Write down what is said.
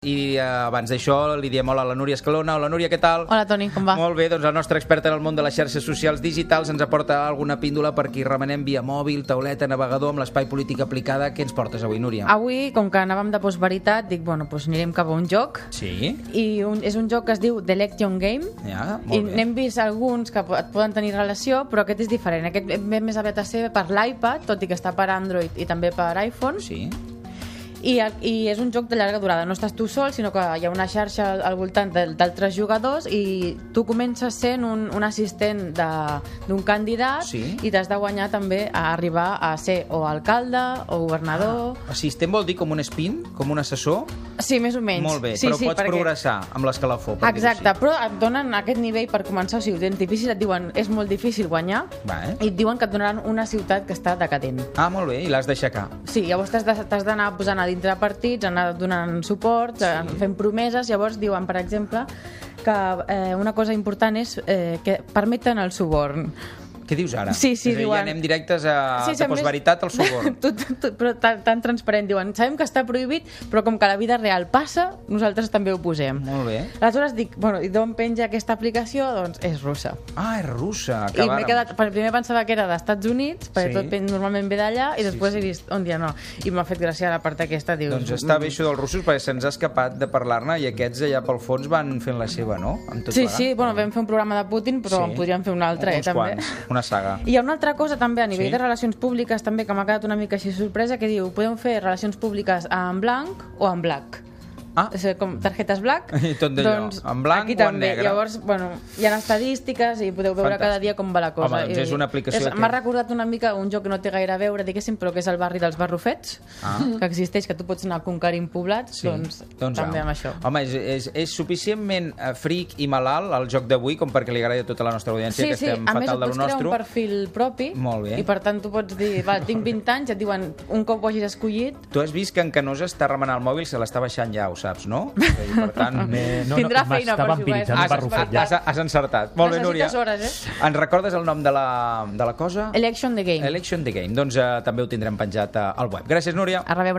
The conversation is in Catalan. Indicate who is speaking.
Speaker 1: I eh, abans d'això li diem hola a la Núria Escalona. Hola Núria, què tal?
Speaker 2: Hola, Toni, com va?
Speaker 1: Molt bé, doncs la nostra experta en el món de les xarxes socials digitals ens aporta alguna píndola per qui remenem via mòbil, tauleta, navegador, amb l'espai polític aplicada. Què ens portes avui, Núria?
Speaker 2: Avui, com que anàvem de postveritat, dic, bueno, doncs anirem cap a un joc.
Speaker 1: Sí?
Speaker 2: I un, és un joc que es diu The Lection Game.
Speaker 1: Ja,
Speaker 2: I
Speaker 1: molt bé.
Speaker 2: n'hem vist alguns que po- et poden tenir relació, però aquest és diferent. Aquest ve més aviat a ser per l'iPad, tot i que està per Android i també per iPhone.
Speaker 1: Sí?
Speaker 2: I, I és un joc de llarga durada. No estàs tu sol, sinó que hi ha una xarxa al voltant de- d'altres jugadors i tu comences sent un, un assistent de- d'un candidat
Speaker 1: Sí.
Speaker 2: i t'has de guanyar també a arribar a ser o alcalde o governador...
Speaker 1: Ah. Assistent vol dir com un spin, com un assessor?
Speaker 2: Sí, més o menys.
Speaker 1: Molt bé,
Speaker 2: sí,
Speaker 1: però
Speaker 2: sí,
Speaker 1: pots progressar amb l'escalafó. per dir-ho
Speaker 2: Exacte, però et donen aquest nivell per començar, o sigui, ho tens difícil, et diuen és molt difícil guanyar,
Speaker 1: així. Va, eh?
Speaker 2: i et diuen que et donaran una ciutat que està decadent.
Speaker 1: Ah, molt bé, i l'has d'aixecar.
Speaker 2: Sí, llavors t'has de- t'has d'anar posant a dintre partits, anar donant suport, sí. fent promeses, llavors diuen, per exemple, que eh, una cosa important és eh, que permeten el suborn.
Speaker 1: Què dius ara?
Speaker 2: Sí, sí,
Speaker 1: és a dir,
Speaker 2: diuen-
Speaker 1: ja anem directes a... de
Speaker 2: a més-
Speaker 1: postveritat al suborn.
Speaker 2: tu, tu, tu, però tan, tan transparent, diuen, sabem que està prohibit, però com que a la vida real passa, nosaltres també ho posem.
Speaker 1: Molt bé.
Speaker 2: Aleshores dic, bueno, i d'on penja aquesta aplicació? Doncs és russa.
Speaker 1: Ah, és russa.
Speaker 2: I m'he
Speaker 1: acabaram.
Speaker 2: quedat, per primer pensava que era d'Estats Units, perquè
Speaker 1: Sí.
Speaker 2: sí. tot pen- normalment ve d'allà, i després
Speaker 1: sí.
Speaker 2: he vist un dia no. I m'ha fet gràcia la part aquesta, dius... "Mm,
Speaker 1: Doncs està bé això dels russos perquè se'ns ha escapat de parlar-ne i aquests allà pel fons van fent la seva, no? Amb tot
Speaker 2: Sí,
Speaker 1: plegat.
Speaker 2: sí, bueno, vam fer un programa de Putin, però sí. en podríem fer un altre,
Speaker 1: Uns
Speaker 2: eh, també.
Speaker 1: Quants, una saga.
Speaker 2: I hi ha una altra cosa també a nivell
Speaker 1: Sí.
Speaker 2: sí. de relacions públiques també que m'ha quedat una mica així sorpresa que diu podem fer relacions públiques en blanc o en black.
Speaker 1: Ah.
Speaker 2: O sigui, com targetes black. doncs,
Speaker 1: I tot d'allò, en blanc
Speaker 2: aquí
Speaker 1: o en
Speaker 2: també.
Speaker 1: negre.
Speaker 2: Llavors, bueno, hi ha estadístiques i podeu veure
Speaker 1: Fantàstic.
Speaker 2: cada dia com va la cosa.
Speaker 1: Home, doncs
Speaker 2: I-
Speaker 1: és una aplicació
Speaker 2: és-
Speaker 1: que-
Speaker 2: M'ha recordat una mica un joc que no té gaire a veure, diguéssim, però que és el barri dels barrufets,
Speaker 1: Ah.
Speaker 2: que existeix, que tu pots anar conquerint poblats, doncs, també
Speaker 1: au.
Speaker 2: amb això.
Speaker 1: Home, és, és, és suficientment eh, fric i malalt el joc d'avui com perquè li agradi a tota la nostra audiència que estem
Speaker 2: a més
Speaker 1: fatal
Speaker 2: et
Speaker 1: de
Speaker 2: pots
Speaker 1: lo
Speaker 2: crear
Speaker 1: nostre.
Speaker 2: un perfil propi
Speaker 1: Molt bé.
Speaker 2: i per tant tu pots dir, va, tinc 20 anys, et diuen un cop ho hagis escollit,
Speaker 1: Tu has vist que en Canosa està remenant el mòbil, se l'està baixant ja, ho saps, no? És a dir, Per tant,
Speaker 3: Eh, no,
Speaker 2: Tindrà
Speaker 3: no,
Speaker 2: feina per
Speaker 3: m'està
Speaker 2: jugar,
Speaker 3: vampiritzant
Speaker 2: és
Speaker 3: un
Speaker 1: has,
Speaker 3: barrufet, ja.
Speaker 1: has, has encertat. Molt bé, Núria.
Speaker 2: necessites hores, eh?
Speaker 1: Ens recordes el nom de la, de la cosa?
Speaker 2: Election the Game.
Speaker 1: Election the Game. Doncs eh, també ho tindrem penjat eh, al web. Gràcies, Núria.
Speaker 2: A reveure.